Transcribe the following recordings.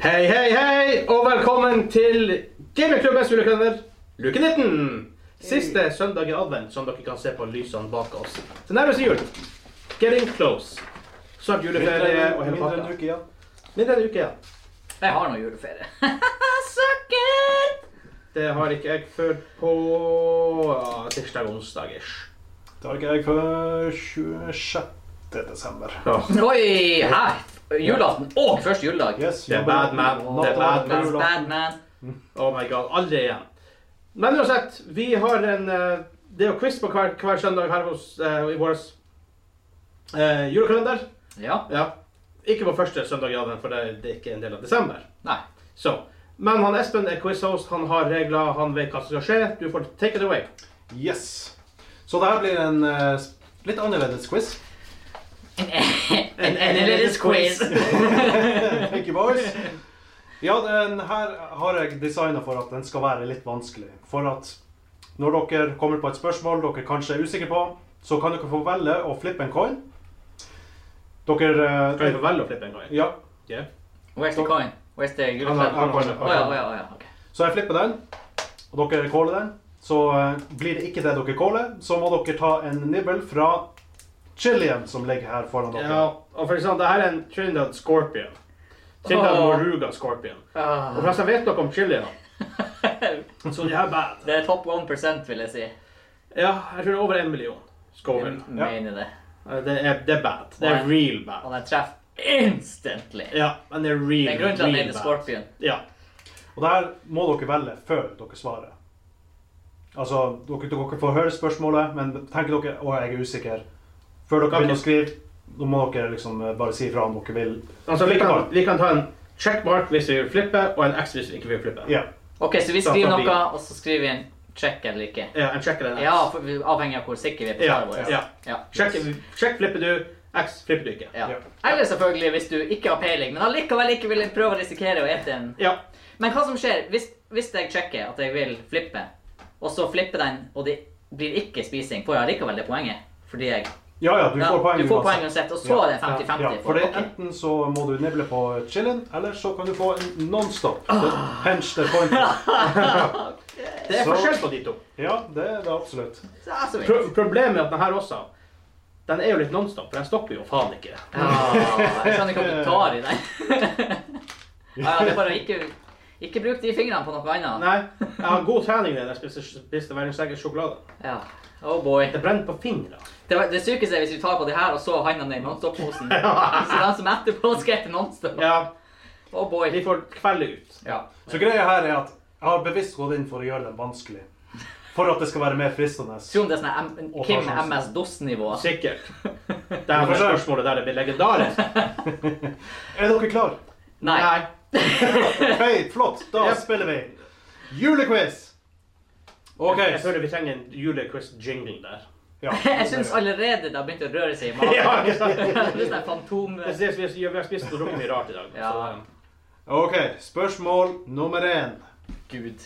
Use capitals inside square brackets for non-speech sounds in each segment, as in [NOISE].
Hei, hei, hei, og velkommen til Gamingklubbens julekalender, luke 19. Siste søndag i advent, som dere kan se på lysene bak oss. Det nærmer seg jul. Getting close. Snart juleferie og hele Mindre enn en pakka. uke, ja. Mindre enn en uke, ja. Jeg har nå juleferie. [LAUGHS] Sucker! Det har ikke jeg før på ja, tirsdag onsdag-ish. Det har ikke jeg før 26. desember. Oi! Hæ? Julaften og første juledag. Yes, Det er jobber bad man, natta det er bad på man. That's julaften. bad, man. Oh my god, aldri igjen. Men uansett, vi har en eh, Det er jo quiz på hver, hver søndag her hos, eh, i vår eh, julekalender. Ja. Ja. Ikke på første søndag i advent, for det, det er ikke en del av desember. Nei. Så. Men han Espen er quiz-host, han har regler, han vet hva som skal skje. Du får take it away. Yes. Så det her blir en eh, s- litt annerledes quiz. [LAUGHS] En annerledes [LAUGHS] quiz. Thank you, boys. Ja, den her har jeg designa for at den skal være litt vanskelig. For at når dere kommer på et spørsmål dere kanskje er usikre på, så kan dere få velge å flippe en coin. Dere Kan vi eh, få velge å flippe en gang? Ja, Ja. [LAUGHS] Where's the coin? Where's the Han har- han har- julekalender? Å ja, å ja, å ja. ok. [LAUGHS] Så jeg flipper den, og dere caller den. Så eh, blir det ikke det dere caller, så må dere ta en nibble fra chilien som ligger her foran dere. ja. Og for eksempel, det her er en Trinidad Scorpion. Trinidad Åh. Moruga Scorpion. Og Ah. forresten, jeg vet noe om chili, da. [LAUGHS] Så de her er bad. Det er topp 1 vil jeg si. Ja, jeg tror det er over en million. Skoven. Jeg mener det. Det er, det er bad. Det er Nei. real bad. Og den treffer instantly. Ja, men det er real, Det er grunnen til at den heter Scorpion. Ja. Og det her må dere velge før dere svarer. Altså, dere, dere får høre spørsmålet, men tenker dere å, jeg er usikker. Før dere Ok. begynner å skrive, nå må dere liksom eh, bare si ifra om dere vil. Altså, vi Flippe kan, bare. vi kan ta en checkmark hvis vi vil flippe, og en X hvis vi ikke vil flippe. Ja. Ok, så vi Så skriver at vi- noe, og så skriver vi en check eller ikke. Ja, en check eller en X. Ja, for, avhengig av hvor sikre vi er på Ja, svaret vårt. ja. Ja. Check, check flipper du, X flipper du ikke. Ja. Ja. Eller selvfølgelig hvis du ikke har peiling, men allikevel ikke vil prøve å risikere å ete en. Ja. Men hva som skjer hvis, hvis jeg sjekker at jeg vil flippe, og så flipper den, og det blir ikke spising, får jeg allikevel det poenget? Fordi jeg ja, ja, du Ja, får poeng du får poeng uansett. uansett, og så Ja, er det 50-50. Ja, for det, Ok. enten så må du nible på chilien, eller så kan du få en nonstop. Det- Hence the point. Ah. Det er Så- forskjell på de to. Ja, det er det absolutt. Så er det så vidt. Pro problemet er at den her også, den er jo litt nonstop, for den stopper jo faen ikke. Ah, jeg skjønner ikke hva du tar i den. [LAUGHS] ja, ja, det er bare å ikke, ikke bruk de fingrene på noe annet. Nei, jeg har god trening når jeg spiser, spiser hver eneste eget sjokolade. Ja. Oh boy. Det brenner på fingrene. Det, var- det sykeste er hvis vi tar på det her, og så handa ned i nonstop-posen. [LAUGHS] Så den som etterpå skal hete nonstop. Ja, Oh boy. vi får kvelde ut. Ja. Så greia her er at jeg har bevisst gått inn for å gjøre den vanskelig. For at det skal være mer fristende. Tror om det er sånn her M Og Kim tar sjansen. MS-DOS-nivå. Sikkert. Det her Forsøk. spørsmålet der det blir legendarisk. Er dere [LAUGHS] klare? Nei. Ok, flott. Da Ja. spiller vi julequiz. OK. Jeg føler vi trenger en julequiz-jingle der. Ja, [LAUGHS] Jeg syns allerede det har begynt å røre seg i magen. [LAUGHS] Ja, ikke sant? [LAUGHS] Det er sånn her fantom... Det ses, vi, vi har spist og drukket mye rart i dag. Ja. så, um, OK, spørsmål nummer én. Gud.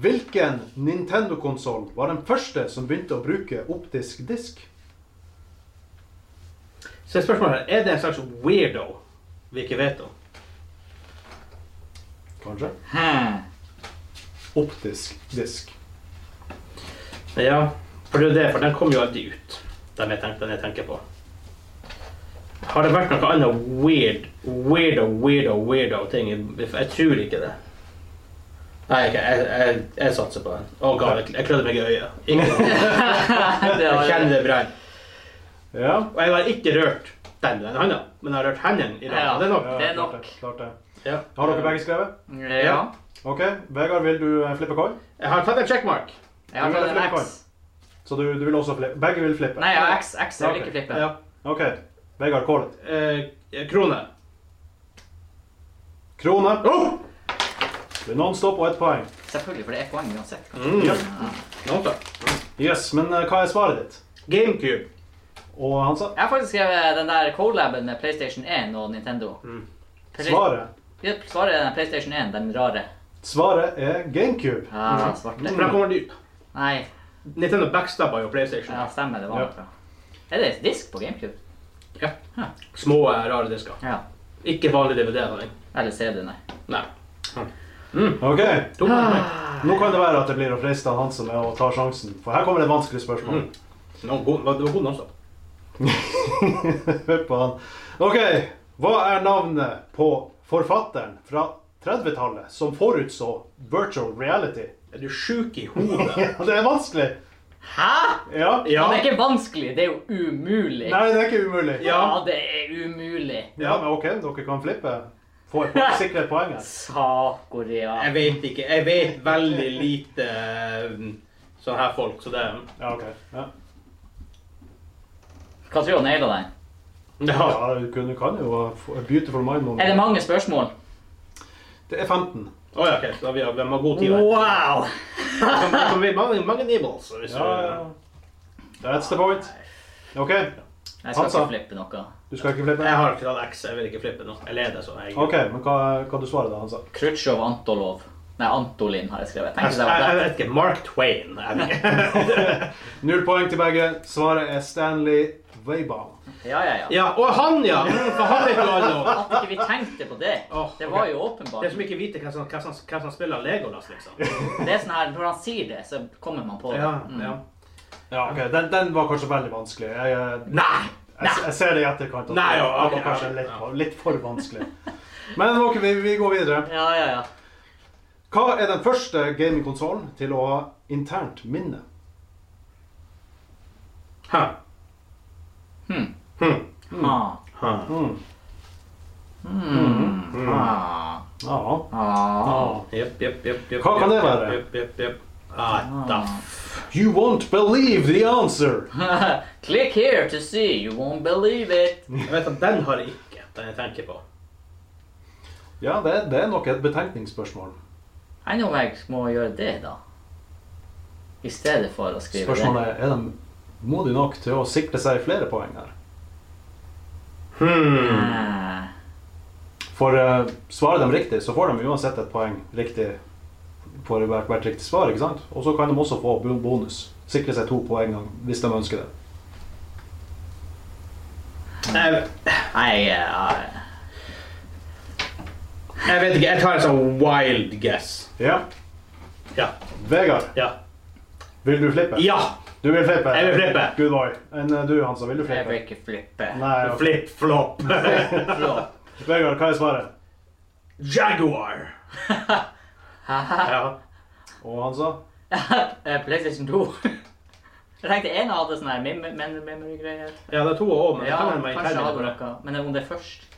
Hvilken Nintendo-konsoll var den første som begynte å bruke optisk disk? så spørsmålet her, er det en slags weirdo vi ikke vet om? Kanskje? Hmm. Optisk disk. Ja, for det er det, for den kom jo aldri ut. Den jeg, tenk- den jeg tenker på. Har det vært noe annet weird, weirdo, weirdo, weirdo ting? Jeg jeg tror ikke det. Nei, ikke, jeg, jeg, jeg satser på den. Å god, jeg, jeg klødde meg i øyet. [LAUGHS] Ikke, [LAUGHS] Det jeg kjenner var, det brenn. Ja. Og jeg har ikke rørt den med den handa, men jeg har rørt hendene i den. Ja. Det er nok. ja, Det er klart nok. det, Klart det. Ja. Har dere begge skrevet? Mm, ja. OK. Vegard, vil du eh, flippe coin? Jeg har tatt en checkmark. Jeg har tatt en X. Så du, du vil også flippe? Begge vil flippe? Nei, jeg har X. X jeg vil ikke flippe. Ja. OK. Vegard, call it. Eh, krone. Krone. Oh! Det er nonstop og ett poeng. Selvfølgelig, for det er poeng uansett. Mm. Ja. Nå da. Yes, Men eh, hva er svaret ditt? Gamecube. Og han sa Jeg har faktisk skrevet den der collaben med PlayStation 1 og Nintendo. Mm. Play- svaret. Ja, Svaret er den PlayStation 1, den rare. Svaret er GameCube. Ja, For svarte. den kommer dyp. Nei, Nintendo backstabba jo PlayStation. ja, stemmer. Det var Ja. noe. Er det disk på GameCube? Små, eh, rare disker. Ja. Ikke vanlig DVD-handling. Eller CD, nei. Nei. Ok, Dum. Ah. Nå kan det være at det blir å friste han Hansen med å ta sjansen, for her kommer det et vanskelig spørsmål. Mm. No, god, det var god nonstop. Hør på han. Ok, hva er navnet på forfatteren fra 30-tallet som forutså virtual reality? [LAUGHS] Er du sjuk i [LAUGHS] hodet? Og det er vanskelig. Hæ?! Ja. Ja. Det er ikke vanskelig, det er jo umulig. Nei, det er ikke umulig. Ja. det er umulig. Ja, men ok, dere kan flippe. Få et poeng- sikre et poeng her. Sa-Korea. Jeg vet ikke. Jeg vet veldig lite um, sånne her folk, så det Ja, ok. Ja. Hva tror du naila den? ja. Ja, du kunne- kan jo ha f- a Beautiful Mind noen Er det mange spørsmål? Det er 15. Å ja, ok. Så da vi har, vi har god tid. her. Wow! Det [LAUGHS] kan- det kan bli mange, mange nibbles. Hvis Ja, ja, ja. du, That's the point. Ok, Jeg skal Altså. ikke flippe noe. du skal ikke flippe? jeg har ikke tatt X. Jeg vil ikke flippe nå. Jeg leder, så jeg Ok, men hva, hva du svarer da, Hansa? Khrusjtsjov Antolov. Nei, Antolin har jeg skrevet. Jeg, Tenk hvis jeg jeg, jeg var vet ikke. Mark Twain. Jeg vet ikke. [LAUGHS] Null poeng til begge. Svaret er Stanley Weibaum. der. Ja, ja, ja. Ja, og han, ja! Mm, For han vet jo alle om. At ikke vi tenkte på det. Åh, Det var ok. jo Det er åpenbart. som ikke vite hvem som, hvem som, hvem som spiller Legolas, liksom. Det er sånn her, Når han sier det, så kommer man på det. Ja, Mm. ja. Ja, ok, den, den var kanskje veldig vanskelig. Jeg, jeg, Nei! jeg, jeg ser det i etterkant. at Nei, ja, ok, den var kanskje ja, litt, ja. litt for vanskelig. Men ok, vi, vi går videre. ja, ja, ja. Hva er den første gamingkonsollen til å ha internt minne? Hæ? Hmm. Hmm. Ah. Hæ. Mm. Mm. Ah. Ja. Ah. Jepp, jepp, jepp. jepp, Hva kan det jepp, være? Jepp, jepp, jepp. Ah, da. f- You won't believe the answer! [LAUGHS] Click here to see. You won't believe it. Jeg vet at den har jeg ikke, den jeg tenker på. Ja, det, det er nok et betenkningsspørsmål. Jeg vet ikke om jeg må gjøre det, da. I stedet for å skrive det. Spørsmålet er er de modig nok til å sikre seg flere poeng her. Hmm. Ah. For eh, svarer de riktig, så får de uansett et poeng riktig for hvert, hvert riktig svar. ikke sant? Og så kan de også få bo- bonus. Sikre seg to poeng hvis de ønsker det. Jeg, Nei, eh, jeg vet ikke. Jeg tar en sånn wild guess. Ja. Ja. Vegard, Ja. vil du flippe? ja. Du vil flippe? Jeg vil flippe. Good boy. Enn eh, du, Hansa, vil du jeg vil flippe? ikke flippe. [LAUGHS] Nei, ok. Flip flop. Flott. Vegard, hva er svaret? [LAUGHS] Jaguar. ja. Og Hansa? Eh, PlayStation 2. Jeg tenkte en hadde sånn her mim- men- memory-greier. ja, det er to år, men det Ja, kan hende meg kanskje intern hadde minne på det. noe. Men om det er først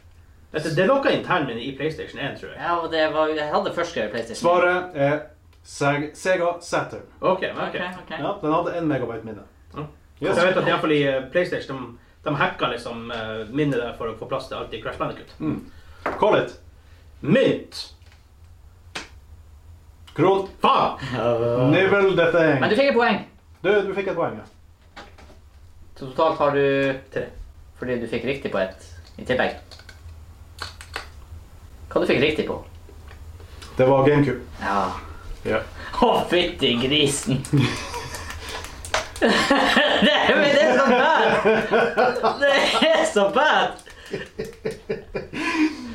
Vet du, Det er noe intern minne i PlayStation 1, tror jeg. Ja, og det var, jeg hadde først skrevet PlayStation. Svaret er Seg Sega Saturn. Ok, men Ok, ok. ok. Ja, den hadde én megabyte minne. Ja. Yes. Så jeg vet at i hvert fall i eh, PlayStation de, de hacka liksom eh, minnet der for å få plass til alt i Crash Bandicoot. Call it. Mynt! Kron. [LAUGHS] Faen! Nibble the thing. Men du fikk et poeng. Du, du fikk et poeng. ja. Så totalt har du Tre. Fordi du fikk riktig på et i tillegg. Hva du fikk riktig på? Det var GameCube. Ja. Ja. Å, fytti grisen! [LAUGHS] det, er- men det er så bad! Det er så bad! [LAUGHS]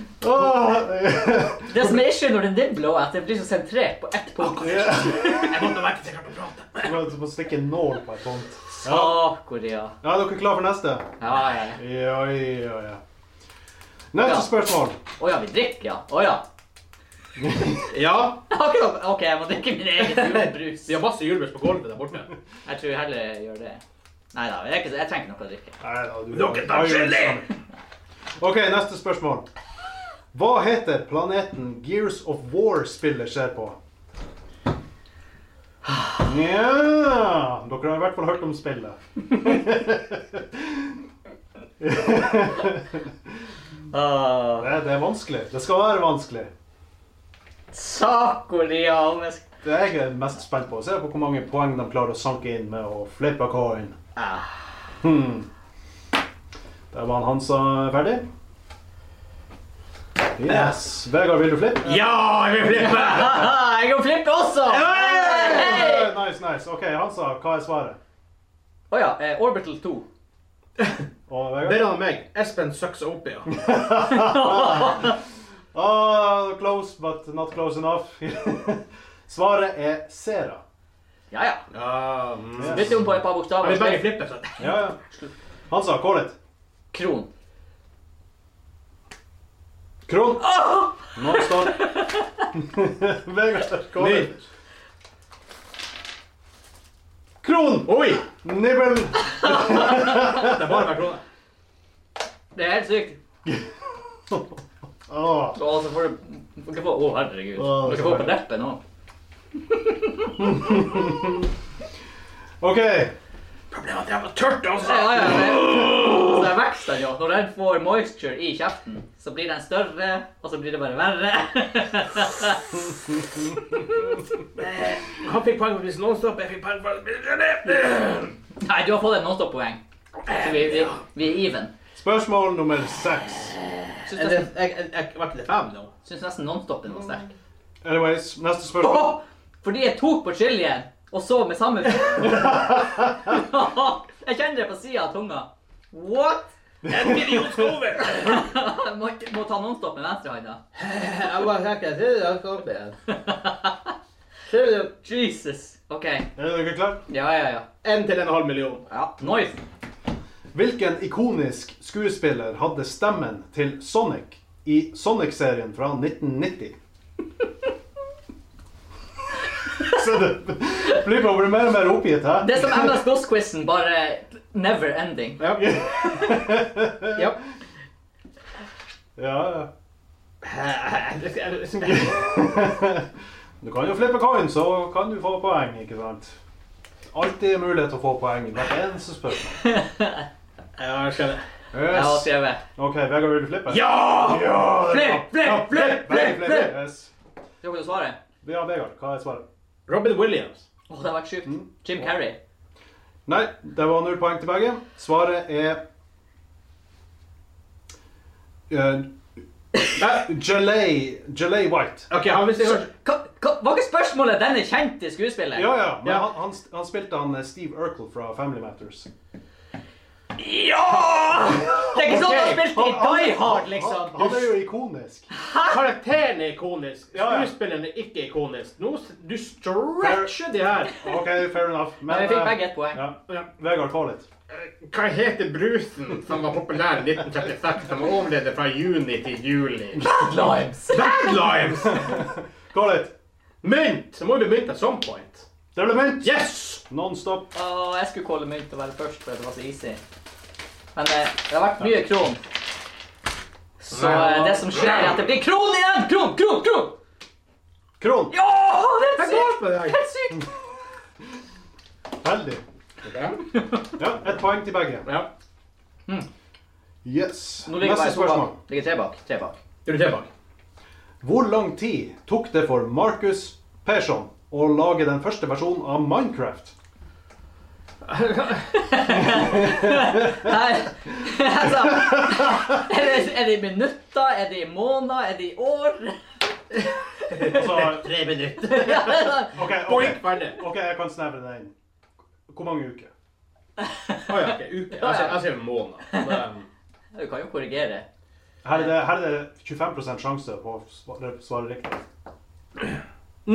Det som er issue når det nibler, er at det blir så sentrert på ett punkt. Jeg måtte vekk til jeg klarte å prate. Du må- du må stikke en nål på et punkt. Sa-Korea. Ja, er dere klare for neste? Ja, ja, ja. Ja, ja, ja. Neste Ja. spørsmål. Å ja, vi drikker, ja. Å ja. [LAUGHS] Ja, Jeg har ikke noe- OK, jeg må drikke min egen julebrus. vi har masse julebrush på gulvet der borte. Jeg tror heller jeg gjør det. Nei da, jeg, er ikke- jeg trenger ikke noe å drikke. Nei, da, du- Dere tar gelé! Ok, neste spørsmål. Hva heter planeten Gears of War-spillet skjer på? Ja, dere har i hvert fall hørt om spillet. [LAUGHS] Uh, Det, det er vanskelig. Det skal være vanskelig. Sakoria om jeg sk- Det er jeg mest spent på. Se på hvor mange poeng de klarer å sanke inn med å flippe a coin. Ah, [LAUGHS] Hmm. Der var han Hansa ferdig. Yes. Vegard, vil du flippe? Ja, jeg vil flippe! ah, Jeg kan flippe også! Hei! Nice, nice. Ok, Hansa, hva er svaret? Å ja, eh, Orbital 2. Og [LAUGHS] Vegard? Bedre enn meg. Espen sucks opia. Ah, close, but not close enough. [LAUGHS] Svaret er Sera. Ja, ja. Ja, mm. Ja. Bytte om på et par Ja, Vi begge bokstaver. flipper, så [LAUGHS] Ja, ja. Han sa call it. Kron. Kron. Nå står [LAUGHS] Vegard, call it. Nytt. Kron. Oi! Nibbel. Det er bare hver krone. Det er helt sykt. Ah. Å, så får du du får ikke få Å, herregud. Å, Du skal få på leppen òg. OK. Problemet er at jeg var tørt. Ja, Altså. ja, ja. Så det er vekst den, ja. Når den får moisture i kjeften, så blir den større, og så blir det bare verre. Han fikk poeng for å bli nonstop, jeg fikk poeng for å bli [LAUGHS] Nei, du har fått et non-stop-poeng. Så vi, vi, vi er even. Spørsmål nummer seks. Syns Er nesten, det- jeg- jeg- jeg- Var ikke det fem nå? syns nesten non-stopen var sterk. Anyways, neste spørsmål. Åh! Fordi jeg tok på chilien og så med samme [LAUGHS] Jeg kjenner det på sida av tunga. [LAUGHS] What? En million skover! Må, må ta nonstop med venstrehånda. Jeg bare sjekker. Ser du det er oppi her? Ser du det? [LAUGHS] Jesus. OK. Er dere klare? Ja, ja, ja. En til en halv million. ja. Noise. Hvilken ikonisk skuespiller hadde stemmen til Sonic i Sonic-serien fra [LAUGHS] 1990? Se du, Flippa blir mer og mer oppgitt her. Det er som MS Goss-quizen, bare never ending. Ja. ja. Ja, [LAUGHS] ja. Jeg Du kan jo flippe coin, så kan du få poeng, ikke sant? Alltid mulighet til å få poeng i hvert eneste spørsmål. skjønner. Jeg har Yes. skrevet OK, Vegard, vil du flippe? Ja! ja det er Flipp, bra. flipp, flipp, flipp, flipp! Yes. Tror dere du svarer? Ja, Vegard, hva er svaret? Robin Williams. Å, det har vært sjukt. Mm. Jim Carrey. Nei, det var null poeng til begge. Svaret er uh, Jalay Jalay White. Ok, han visste kanskje... Hva, hva, var ikke spørsmålet 'den er kjent i skuespillet'? Ja, ja. Men Ja. han, han, han spilte han eh, Steve Urkel fra Family Matters. Ja! Det er ikke sånn han Ok, spilte i han- Die Hard, Han, liksom. han er jo ikonisk. Karakteren er ikonisk. Ja, ja. Skuespilleren er ikke ikonisk. Nå, s- du stretcher de her. OK, fair enough. Men vi fikk eh, begge ett poeng. Ja. Vegard, call [LAUGHS] it. Eh, Hva heter brusen som var populær i 1936, som overlevde fra juni til juli? Limes. Bad lives! Call it. Mynt! Det må jo bli mynt at some point. Det ble mynt. Yes! Nonstop. Åh, jeg skulle calle mynt og være først, for det var så easy. Men eh, det har vært mye kron. Så eh, det som skjer, er at det blir kron igjen! Kron, kron, kron! Kron. Ja, det er Jeg går sykt! på deg! Helt sykt! Heldig. Ok. Ja, ett poeng til begge. Ja. Yes. Nå ligger Neste bare to spørsmål. bak. Ligger tre bak. Tre bak. Du er tilbake. Hvor lang tid tok det for Markus Persson å lage den første versjonen av Minecraft? [LAUGHS] Nei, altså Er det, er det i minutter? Er det i måneder? Er det i år? [LAUGHS] Altså, Tre minutter. Ja, det er sånn. ok, Boink, ok, ferdig. ok, jeg kan snevre det inn. Hvor mange uker? Å ja, ok, uke. Jeg sier- jeg sier måned. Men, um, Du kan jo korrigere. Her er det, her er det 25 sjanse på å svare, svare riktig. [LAUGHS]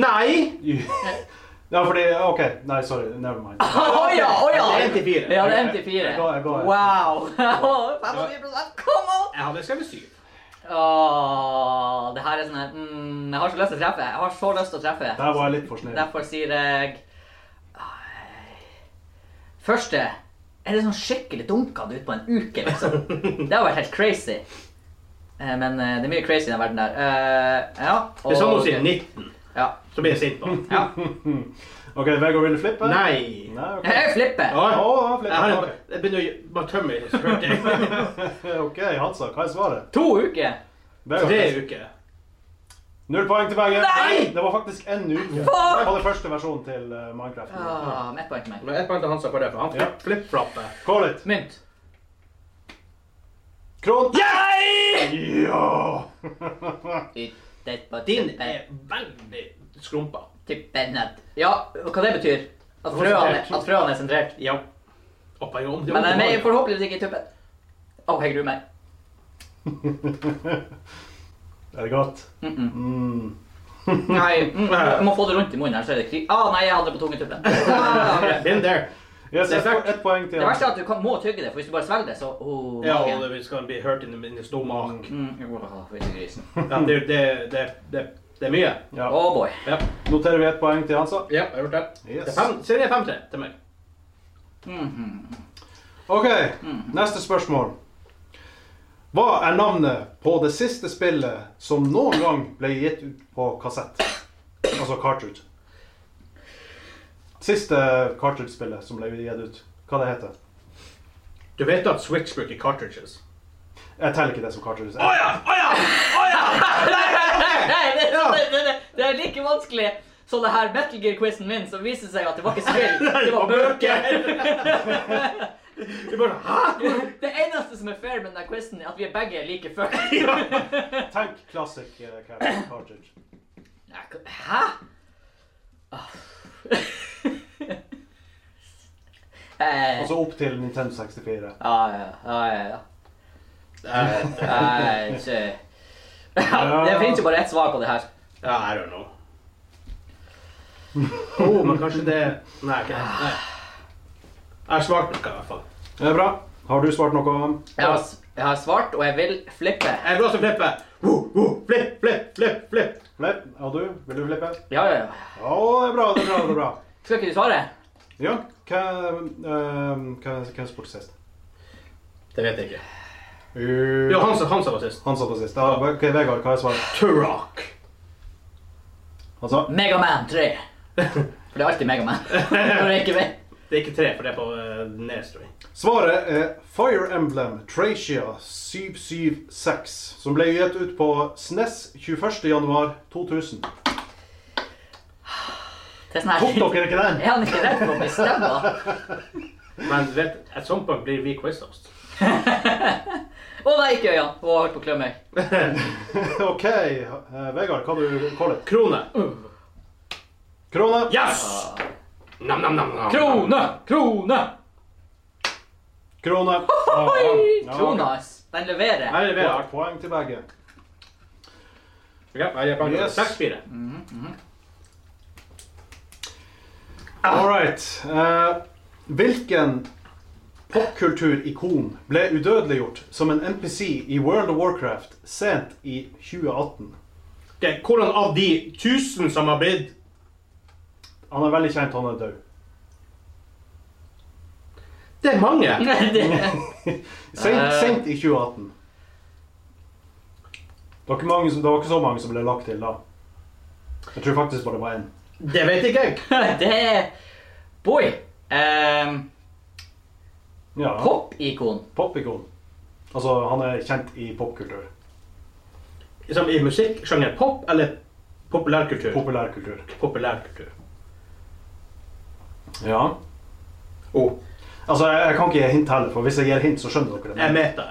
Nei! Ja, fordi OK. Nei, sorry. Never mind. Å ja, å ja! Det er en til fire. Ja, det er en til fire. Jeg går- jeg går. Wow! [LAUGHS] 25 Come on! Jeg hadde skrevet syv. Åh, det her er sånn her mm, Jeg har så lyst til å treffe. Jeg har så lyst til å treffe. Der var jeg litt for snill. Derfor sier jeg Første er det sånn skikkelig dunkende ut på en uke, liksom. Det har vært helt crazy. Eh, Men eh, det er mye crazy i den verden der. Eh, ja. Hvis han nå og- sånn sier 19, Ja. så blir jeg sint på han. ja. OK, Vegard, vil du flippe? Nei! Nei, ok. Jeg flipper. Ja, Å, ja. han Jeg, har, flipper. jeg begynner å bare tømme i skjørtet. [LAUGHS] ok. [LAUGHS] OK, Hansa, hva er svaret? To uker. Tre Vegard, uker. Null poeng til begge. Nei! Det var faktisk én uke Fuck! på den første versjonen til eh, Minecraft. Åh, med ett poeng til meg. Men ett poeng til Hansa for det, for han Ja. flipp- flipp-flapper. Call it. Mynt. Kron. Nei! Ja! Din er veldig skrumpa. Tippenhet. Ja, og hva det betyr? At frøene, at frøene er sentrert. Ja. Opp i om. eh, Men den er forhåpentligvis ikke i tuppen. Å, jeg gruer meg. Er det godt? Mm -mm. Mm. Nei, mm, jeg må få det rundt i munnen her, så er det krig. Å, nei, jeg hadde det på tungetuppen. Ah, greit. Been there. Yes, Det er jeg får sterkt. ett poeng til. Det verste er at du kan, må tygge det, for hvis du bare svelger det, så oh, Ja, magen. og det skal bli hurt in the, in the stomach. Mm, åh, fytti grisen. Ja, det, det, det, det, det er mye. Ja. Oh boy. Ja, Noterer vi ett poeng til Hansa? ja jeg har gjort det. Yes. det er fem, serie 5-3 til meg. [LAUGHS] Mhm. OK, Mm. neste spørsmål. Hva er navnet på det siste spillet som noen gang ble gitt ut på kassett? Altså cartridge. Siste cartridge-spillet som ble gitt ut. Hva det heter Du vet at Switch bruker cartridges? Jeg teller ikke det som cartridge. Å ja! Å ja! Å ja! Nei, det, det, det, det, det er like vanskelig som det her Metal Gear-quizen min, som viser seg at det var ikke [LAUGHS] spill, det var bøker. Du bare Hæ? [LAUGHS] Det eneste som er fair med den quizen, er at vi er begge like fuck. Tenk classic eh, cartridge. Nei, hva- Hæ? Ah. [LAUGHS] Eh, Altså opp til Nintendo 64. Ja, ja, ja, ja, ja. Eh, Nei, ikke- Ja, Det finnes jo bare ett svar på det her. Ja, I don't know. Oh, men kanskje det Nei, ikke helt. Nei. Jeg har smakt noe, i hvert fall. Det er bra. Har du svart noe? Jeg har, jeg har svart, og jeg vil flippe. Jeg blåser flippet. Woo, woo, flipp, flipp, flipp, flipp. Flipp? Og du? Vil du flippe? Ja, ja, ja. Ja, det er bra, det er bra. det er bra. Skal ikke du svare? Ja, hva, um, hva, hvem spurte sist? Det vet jeg ikke. Uh, Jo, Hansa, Hansa var sist. Han sa på sist. Ja, ok, Vegard, hva er svaret? Turok. Han sa? Megaman 3. For det er alltid Megaman. [LAUGHS] Når jeg ikke vet. Det er ikke tre, for det er på uh, Nes, tror jeg. Svaret er Fire Emblem Tracia 776, som ble gitt ut på E SNES 21.1.2000. Det er sånn Tok dere her... ikke den? Er han ikke redd for å bli stemma? Men vet, et sånt punkt blir vi [LAUGHS] quiz-host. Å nei, ikke Øyan. Hun har holdt på å klø meg. [LAUGHS] OK, eh, Vegard, hva du kaller du Krone. Krone? Yes! Nam-nam-nam. Krone! Krone! Krone. Ja, ja, Krona, ok. ass. Den leverer. Jeg leverer Poeng- hardt. Poeng til begge. Ja, jeg kan Yes. 6-4. All right. Eh, hvilken popkulturikon ble udødeliggjort som en NPC i World of Warcraft sent i 2018? Ok, Hvordan av de tusen som har blitt Han er veldig kjent, han er død. Det er mange. [LAUGHS] Det- Sent, Eh. sent i 2018. Det var, ikke mange, som- det var ikke så mange som ble lagt til da. Jeg tror faktisk bare det var én. Det vet ikke jeg. Det er Boy. Um, Ja, Pop-ikon. popikon. Altså, han er kjent i popkultur. Som I musikksjangeren pop eller populærkultur? Populærkultur. populærkultur. Ja. Oh. Altså, jeg, jeg kan ikke gi hint heller, for hvis jeg gir hint, så skjønner dere det. Jeg meta.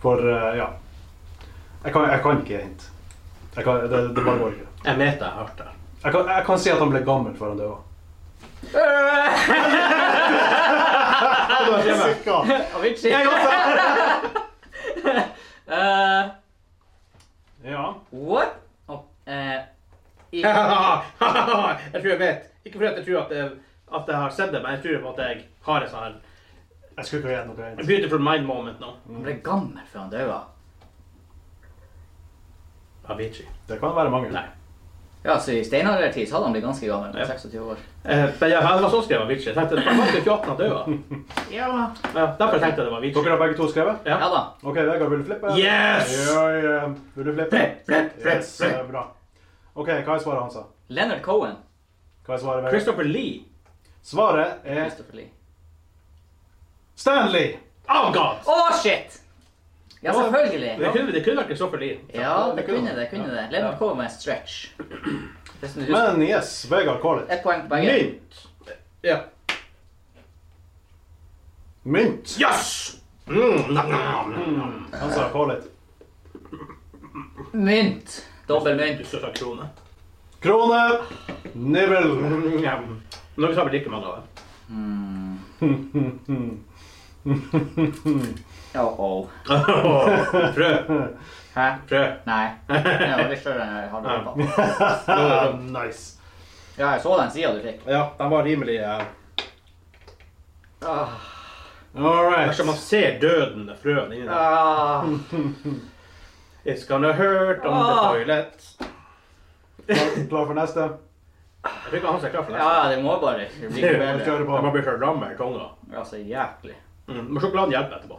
For eh, ja. Jeg kan, jeg kan ikke hint. Jeg kan, det, det bare går ikke. Jeg meta hardt der. Jeg kan, jeg kan si at han ble gammel før han døde. Avicii. [LAUGHS] Eh, Ja. what? Oh, eh, i- jeg tror jeg vet. Ikke fordi at jeg tror at jeg, at jeg har sett det, men jeg tror på at jeg har en sånn her Jeg skulle ikke ha gitt noe hint. beautiful mind moment nå. han ble gammel før han døde. Avicii. Det kan være mange. Nei. Ja, så I steinaldertid så hadde han blitt ganske gammel. Ja. 26 år. Eh, men jeg, jeg var så skrevet Avicii. Jeg tenkte det var faktisk 28 han døde. [LAUGHS] Ja. Ja, derfor tenkte jeg det var Avicii. Dere har begge to skrevet? ja da. OK, Vegard, vil du flippe? Yes! Ja, ja. Vil du flippe? Flipp, flipp, flipp, Yes, eh, bra. OK, hva er svaret hans? da? Leonard Cohen. Hva er svaret, Vegard? Christopher Lee. Svaret er Christopher Lee. Stanley! Oh god! Å, shit! Ja, selvfølgelig. Det kunne, det kunne vært Christopher Lee. Ja, det kunne det. kunne det. Leonard Cohen var en stretch. Det som du husker. Men yes, Vegard Kålet. Ett poeng på begge. Mynt. Ja. Mynt. Yes! Mm, nam, nam, nam. Han sa Kålet. Mynt. Dobbel Du mynt. skal ta krone. Krone. Nibbel. [LAUGHS] Mm, ja. Men dere tar vel like mange av dem? Oh, oh. Prøv. Hæ? Prøv. Nei. Det var litt større enn jeg hadde håpet. nice. Ja, jeg så den siden du fikk. Ja, de var rimelig eh, Ah. All Dersom man right. ser døden med frøene inni der Ah. It's gonna hurt on the Ah. toilet. Klar, klar for neste? Jeg tror ikke han er klar for det. Ja, det må bare ikke bli Det noe er Vi bedre. kjører Man på. blir så lam i tunga. Altså, jæklig. Mm. Men sjokoladen hjelper etterpå.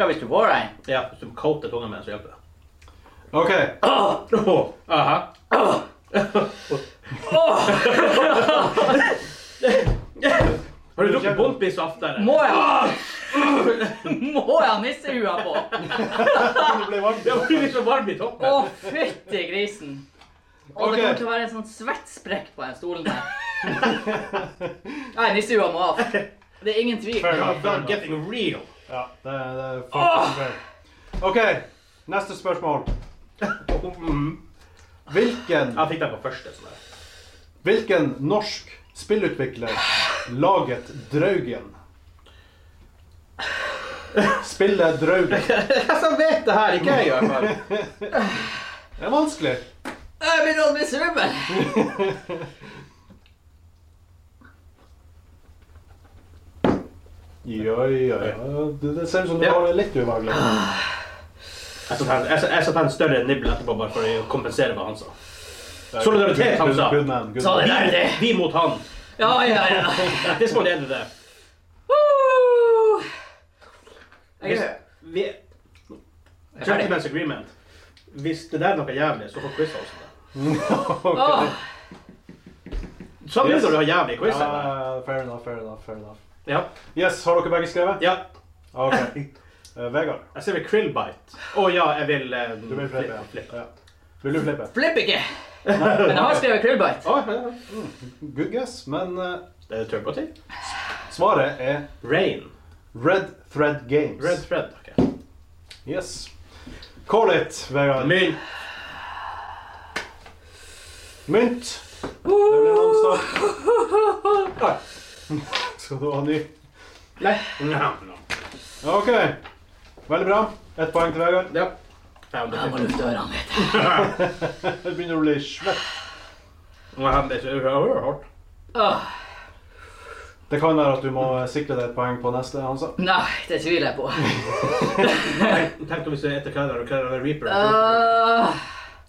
Ja, hvis du får den. Ja, Hvis du coater tunga med den, så hjelper det. OK. Åh, aha. Har du drukket Bompis oftere? Må jeg ha [LAUGHS] Må jeg ha nissehua på? Det ble varmt. [LAUGHS] Det blir litt så varm i toppen. Å, fytti grisen. Å, Ok. det kommer til å være en sånn svettsprekk på den stolen der. Nei, nissehua må av. Det er ingen tvil. Fair God, enough. God, getting real. Ja, det, det er faktisk fair. OK. Neste spørsmål. Mm. Hvilken, Jeg fikk den på første. sånn der. hvilken norsk spillutvikler laget Draugen? Spillet Draugen. Jeg som vet det her, ikke jeg i hvert fall. Det er vanskelig. Jeg begynner å bli svimmel. Ja, ja, ja. Det det ser ut som du Ja. har det litt ubehagelig. Jeg satte en- jeg satte- jeg satte en større nibble etterpå bare for å kompensere hva han sa. Solidaritet, han sa. Good man, good Sa det man. der, det. Vi mot han. Ja, ja, ja. At this point eh, ended there. Woo! Jeg Hvis, er vi, jeg er ferdig. gentleman's agreement. Hvis det der er noe jævlig, så får quiz oss om det. Ok. Åh, Samme Yes. når du har jævlig quiz. eller? Ja, fair enough, fair enough, fair enough. Ja. Yes, har dere begge skrevet? Ah, ja. Ok. Eh, Vegard, Jeg ser vel krillbite. Å ja, jeg vil eh, du vil flippe? fli- flippe. Ja. Ja. Vil du flippe? Flipp ikke. Men jeg har skrevet krillbite. Å, ja, ja. Good guess, men eh, Det er turbo til. svaret er Rain. Red Thread Games. Red thread. ok. Yes. Call it, Vegard. Mynt. Mynt. Det blir en Woo! omstart. Nei. Skal du ha ny? Nei. Nja, nja. Ok. Veldig bra. Ett poeng til Vegard. Ja. Ja, men det Jeg må er fint. lufte ørene litt. Det begynner å bli svett. Ja, det er så hardt. Åh, Det kan være at du må eh, sikre deg et poeng på neste, altså. Hansa. nei, det tviler jeg på. Tenk tenk om vi ser etter Kyler og Kyler og Reaper. Ah. Åh,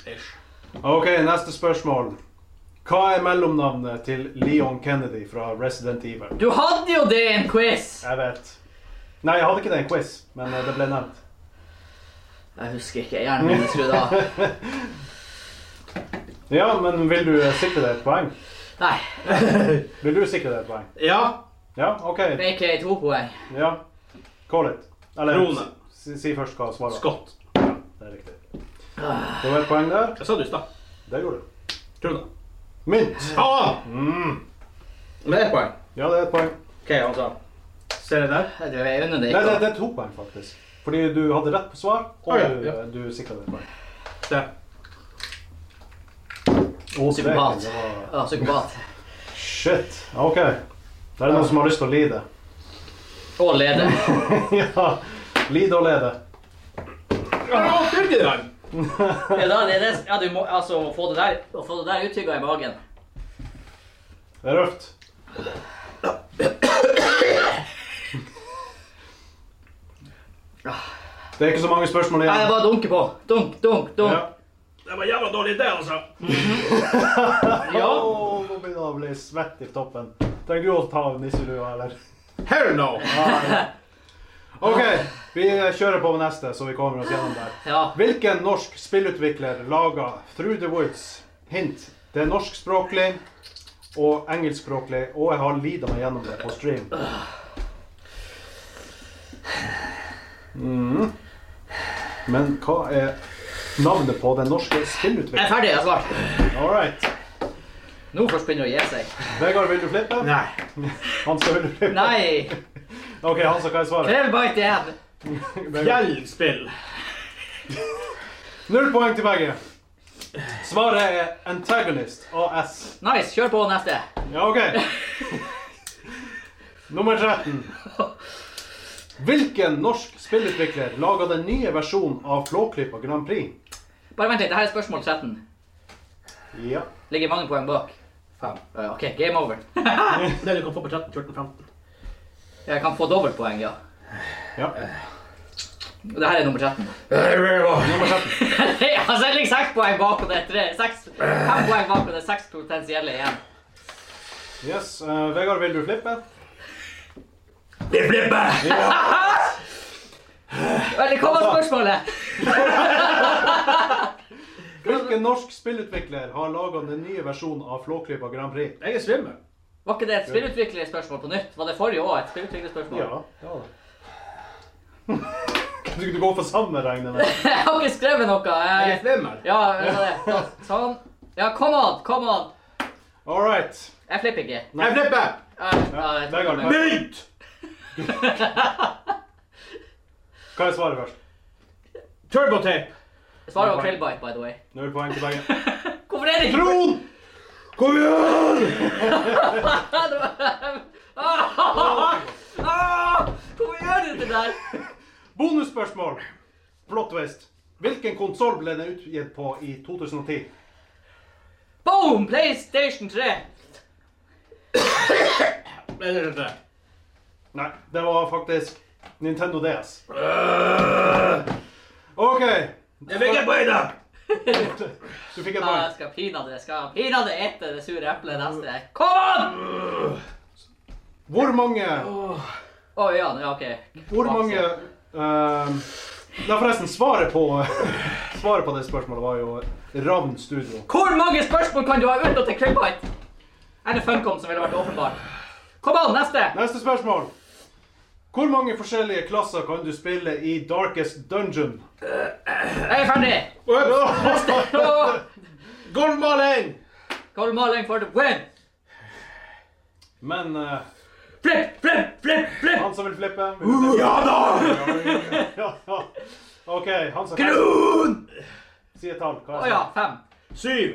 Ish. [LAUGHS] Ok, neste spørsmål. Hva er mellomnavnet til Leon Kennedy fra Resident Evil? du hadde jo det i en quiz! Jeg vet. Nei, jeg hadde ikke det i en quiz, men eh, det ble nevnt. Jeg husker ikke. Hjernen min er skrudd av. Ja, men vil du eh, sikre deg et poeng? Nei. Vil du sikre deg et poeng? Ja. Ja, ok. Make it to poeng. Ja. Call it. Eller Rone. si, si først hva svaret var. Scott. Ja, det er riktig. Det var et poeng der. Jeg sa du i stad. Det gjorde du. Tror du det? Mynt. Ah! Mm. Men det er poeng. Ja, det er et poeng. OK, han sa. Ser du der? Jeg tror jeg unner det Nei, det, ikke. det er to poeng, faktisk. Fordi du hadde rett på svar, og Ah, ja, du, eh, ja. du sikra deg et poeng. Der. Og streken, Psykopat. det var- Åh, psykopat. Shit. OK. Det er noen som har lyst til å lide. [LAUGHS] Og leder. ja. Lide og lede. Ja, det er ikke det. Ja, da, det er det. ja, du må altså å få det der, å få det der uttygga i magen. Det er røft. Det er ikke så mange spørsmål Nei, jeg igjen. bare dunker på. Dunk, dunk, Ja. dunk. Det var en jævla dårlig idé, altså. Ja. Åh, nå begynner jeg å bli svett i toppen. Trenger du å ta av nisselua, eller? Hell no! OK, vi kjører på med neste, så vi kommer oss gjennom der. Ja. Hvilken norsk spillutvikler laga Through the Woods? Hint. Det er norskspråklig og engelskspråklig, og jeg har lida meg gjennom det på stream. Mm. Men hva er navnet på den norske Jeg er spillutvikleren? ferdig, jeg har svart. All right. Nå først begynner det å gi seg. Vegard, vil du flippe? Nei. Hansa, vil du flippe? Nei! OK, Hansa, hva er svaret? Krevbite igjen. Vegard. Fjellspill. Null poeng til begge. Svaret er Antagonist AS. Nice, kjør på neste. Ja, OK. Nummer 13. Hvilken norsk spillutvikler laga den nye versjonen av Flåklypa Grand Prix? Bare vent litt, det her er spørsmål 13. Ja. Ligger mange poeng bak. Fem. Ja, OK, game over. Det du kan få på 13, 14, 15. Jeg kan få dobbeltpoeng, ja. ja. Og det her er nummer 13. Nummer 13. [LAUGHS] ja, så jeg ligger seks poeng bak, og det er tre. Seks, fem poeng bak, og det er seks potensielle igjen. Yes. eh, Vegard, vil du flippe? Det flipper! Eller hva var spørsmålet? Hvilken norsk spillutvikler har laga den nye versjonen av Flåklypa Grand Prix? Jeg er svimmel. Var ikke det et spillutviklerspørsmål på nytt? Var det forrige år et spillutviklerspørsmål? ja. Du skulle gå for samme, regner jeg med. [LAUGHS] Jeg har ikke skrevet noe. Jeg er Jeg... svimmel. Ja, det var det. Sånn. Ja, come on, come on. All right. Jeg flipper ikke. Jeg flipper! Ja, ja, jeg tar Vegard, meg. Mynt! Hva er svaret først? Turbotape. Svaret var Krillbite, by the way. Null poeng til begge. Hvorfor er det ikke Tron! Kom igjen! ah, ah, Hvorfor gjør du det der? Bonusspørsmål. Plot twist. Hvilken konsoll ble den utgitt på i 2010? Boom! PlayStation 3. Men det er det. Nei, det var faktisk Nintendo DS. OK. Jeg fikk et poeng, da! Du fikk et Ja, jeg poeng. skal pinadø jeg skal pinadø ete det sure eplet neste. Kom an! Hvor mange Å ja, ja, OK. Hvor mange ehm, Nei, forresten, svaret på [LAUGHS] Svaret på det spørsmålet var jo Ravn Studio. Hvor mange spørsmål kan du ha uten at det er Krillbite? Eller Funcom, som ville vært åpenbart. Kom an, neste! Neste spørsmål. Hvor mange forskjellige klasser kan du spille i Darkest Dungeon? Jeg er ferdig. [LAUGHS] Neste. Golfballing! Carl Maling for the win. Men eh, Flipp, flipp, flipp, flipp! han som vil flippe vil du Ja da! flippe? ja, ja. OK, han som kan Kron! si et tall. Hva Å er det? ja, fem. Syv.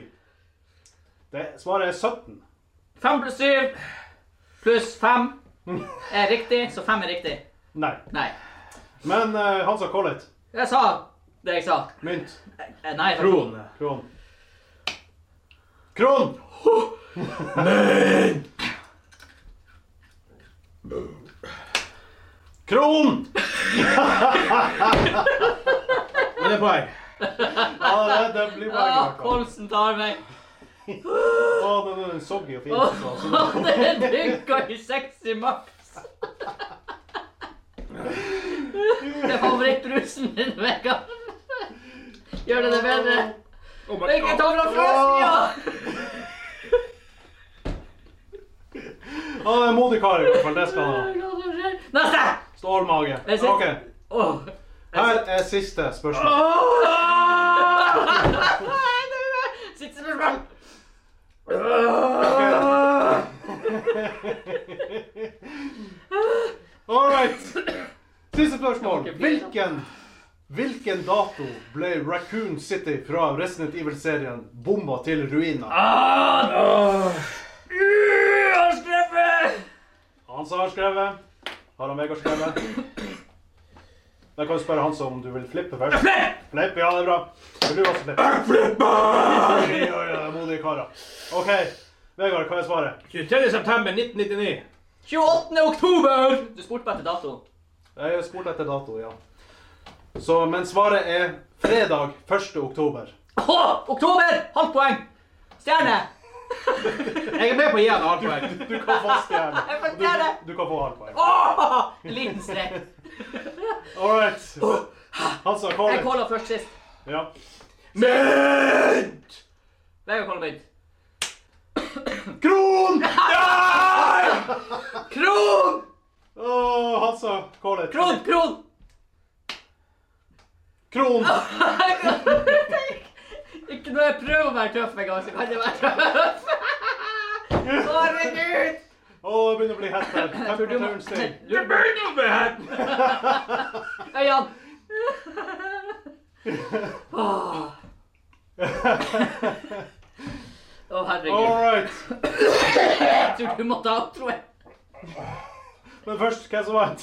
det? Svaret er 17. Fem pluss syv pluss fem er riktig, så fem er riktig. Nei. Nei. Men eh, han som callet Jeg sa det jeg sa. mynt, Eh, Nei, faktisk. Kron. kron. Kron! Kron! Men det er poeng. Ja, det, det blir bare Ah, gøy. Kolsen tar meg. Å, den er soggy og fin. Åh, så- det dynka i sexy max. Det er favorittrusen min, Vegard. Gjør det det bedre? Oh my Ikke ta fra flasken, ja! Ja, det er en modig kar i hvert fall. Det skal han ha. Hva som skjer? Neste! Stål mage. Jeg sitter- Ok, Åh. Her er siste spørsmål. Nei, det er meg. Siste spørsmål. All right. Siste spørsmål. Hvilken, hvilken dato ble Raccoon City fra Resident Evil-serien bomba til ruiner? Han som har skrevet. Har han Vegard skrevet? Da kan du spørre han som om du vil flippe først. Flipp, ja, det er bra. Vil du også flippe? Oi, oi, oi, modige karer. OK. Vegard, hva er svaret? 23. september 1999. 28. oktober! Du spurte meg etter dato. Jeg spurte etter dato, ja. Så, men svaret er fredag 1. oktober. Åh, oktober! Halvt poeng. Stjerne. Jeg er med på å gi han halvt poeng. Du kan [LAUGHS] få stjerne. Jeg og får stjerne. Du, du kan få halvt poeng. Åh, en liten strek. All right. Han sa Jeg Colin. caller først sist. Ja. Mynt! Vegard caller mynt. [LAUGHS] Kron! Kron! Åh, han sa Colin. Kron! Kron! Kron! Ikke når jeg prøver å være tøff en gang, så kan jeg være tøff. Herregud! Åh, det begynner å bli hett her. Jeg tror du må... Temperaturen stiger. Det Du- begynner jo med her! Hei, Jan. Åh. Å, herregud. [LAUGHS] All right. Jeg tror du må ta outroen. Men først, hvem som vant?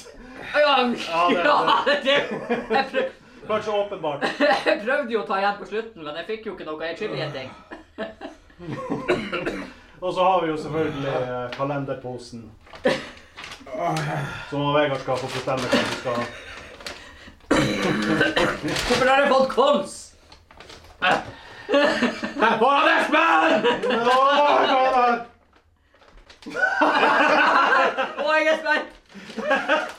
Ja, det- ja, det, jeg, prøv, Kanskje åpenbart. jeg prøvde jo å ta igjen på slutten, men jeg fikk jo ikke noe. Jeg er chilligjeting. Og så har vi jo selvfølgelig eh, [LAUGHS] kalenderposen. Som han Vegard skal få bestemme hva vi skal Hvorfor har jeg fått kols? Bare left man! Men, åh, hva er det her? Å, jeg er spent!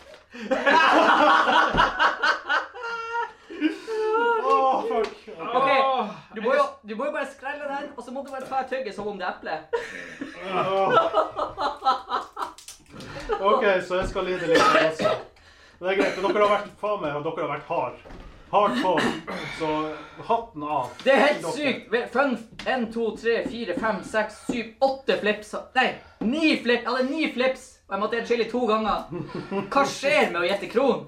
Åh, fuck. Ok, du må, jo, du må jo bare skrelle den, og så må du bare ta et tygge som om det er eple. OK, så jeg skal lide litt her også. Men det er greit. men Dere har vært faen meg, dere har vært hard. Hard på. Så hatten av. Det er helt sykt! Ve- Fun 1, 2, 3, 4, 5, 6, 7, 8 flips. Nei, 9 flips. Jeg hadde 9 flips, og jeg måtte gjette chili to ganger. Hva skjer med å gjette kron?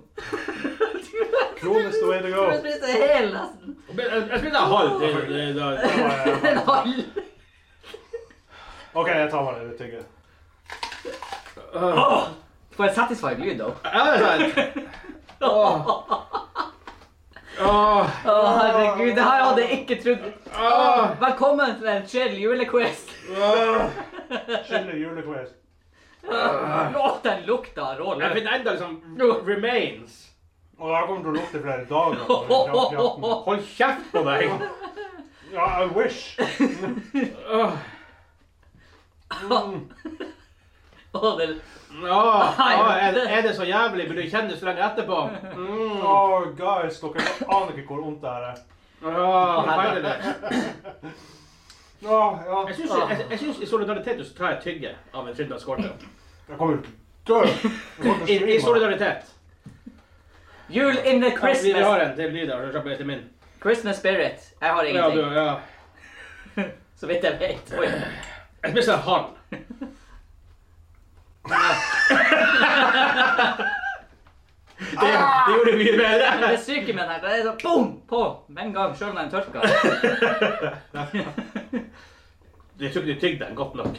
Kronis the way to Du go. spiste hel nesten. Jeg jeg spiller en halv til. det- det- Eh, [LAUGHS] En halv. OK, jeg tar meg det litt tygge. Får jeg satisfied lyd, da? Ja, det er sant. Åh. Åh. Å, herregud, det her hadde jeg ikke trodd. Åh. Velkommen til en kjedelig julequiz. Åh. Chili julequiz. Å, den lukta av rå Jeg løk. finner enda liksom remains. Og jeg kommer til å lukte i flere dager. for den kjappen. Hold kjeft på deg! Ja, I wish. Åh. Å, det... Åh. Åh, Er, er det så jævlig? Burde du kjenne det så lenge etterpå? Mm. Oh, guys, dere aner ikke hvor vondt det her er. Åh, finally. Ja, ja. Jeg syns- jeg- jeg syns i solidaritet så tar jeg tygge av en trøndersk skorte. Jeg kommer til å dø. Jeg kommer I, til I å svime. solidaritet. Jul in the Ja, Vi, vi har Christmas. en til lyd her. Slapp av, til min. Christmas spirit. Jeg har Ja, du, ingenting, ja. så vidt jeg vet. Oi. Jeg spiser en halv. [LAUGHS] Det, det gjorde mye Men bedre. Det syke med den her, det er sånn boom på med en gang, sjøl om den tørker. [LAUGHS] Jeg tror ikke du tygde den godt nok.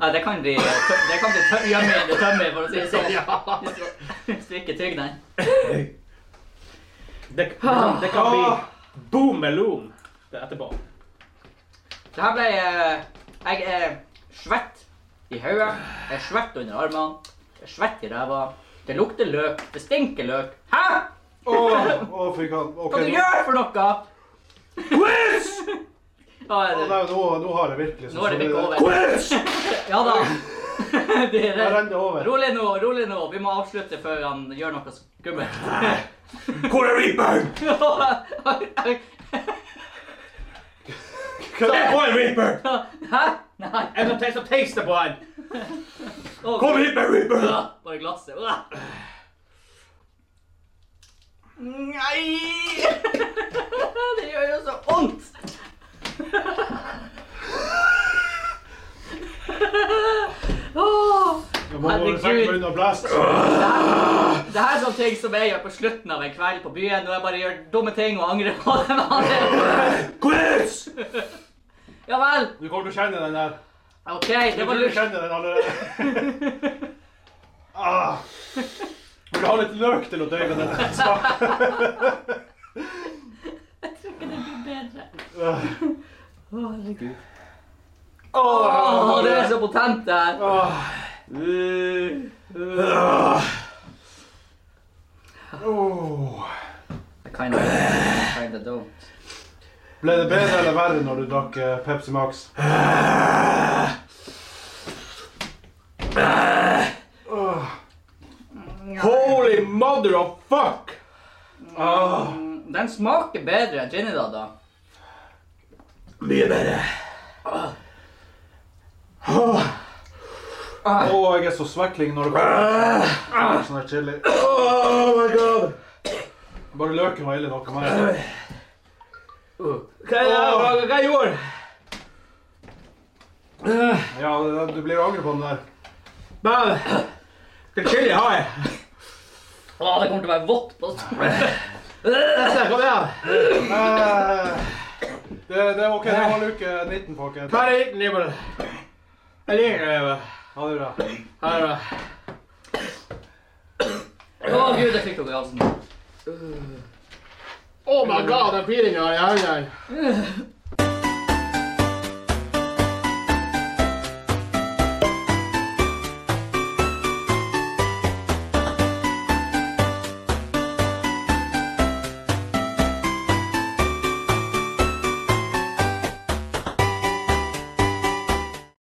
Nei, det kan bli tø- det kan bli tø- gjemme i det tømme, for å si det sånn. Hvis du- Hvis du ikke tygger den. Det, det, kan, det kan bli boom melon etterpå. Det her ble eh, Jeg er svett i hodet. Jeg er svett under armene. Jeg er svett i ræva. Det lukter løk. Det stinker løk. Hæ?! Åh, åh, fy faen. Ok, Hva du nå- gjør for noe?! Quiz! Ja, er Åh, det- nei, nå, nå har jeg virkelig Nå er det så- bikket over. Quiz! [LAUGHS] Ja da. Det er Jeg det. renner over. Rolig nå, rolig nå. Vi må avslutte før han gjør noe skummelt. [LAUGHS] Hvor er [LAUGHS] reaperen? Se på en reaper! Hæ? Nei. En som taster taster på den. Å, Kom hit med reaper! Åh, Bare glasset. Åh. Nei! [LAUGHS] Det gjør jo så vondt. [LAUGHS] Åh. Jeg må bare trekke meg unna blast. Det her er sånne ting som jeg gjør på slutten av en kveld på byen, når jeg bare gjør dumme ting og angrer på det. med andre. [LAUGHS] Quiz! Ja vel. Du kommer til å kjenne den der. OK, Du det var kommer til å lurt. kjenne den allerede. [LAUGHS] Ah. Vil du ha litt løk til å døyve [LAUGHS] den smaken? Bedre. Åh, Åh, det er så potent, det her. Åh. Åh. I kinda, kinda don't. Ble det bedre eller verre når du drakk eh, Pepsi Max? Åh. Holy mother of fuck! Ah. Mm, Den smaker bedre enn Trinidad, da. Mye bedre. Ah, Åh, jeg er så svekling når det kommer til sånn her chili. Ah, Oh my god! Bare løken var ille nok av meg. Hva er det jeg- hva- hva jeg gjorde? Ja, det- du blir å angre på den der. Men Hva chili har jeg? Åh, det kommer til å være vått på Neste, kom igjen. Eh, Det, det er ok, det var luke 19, folkens. Hva er det Jeg liker det. Jeg liker det. Ha det bra. Ha det bra. Å gud, jeg fikk noe i halsen. Oh my god, den piringa i hjernen.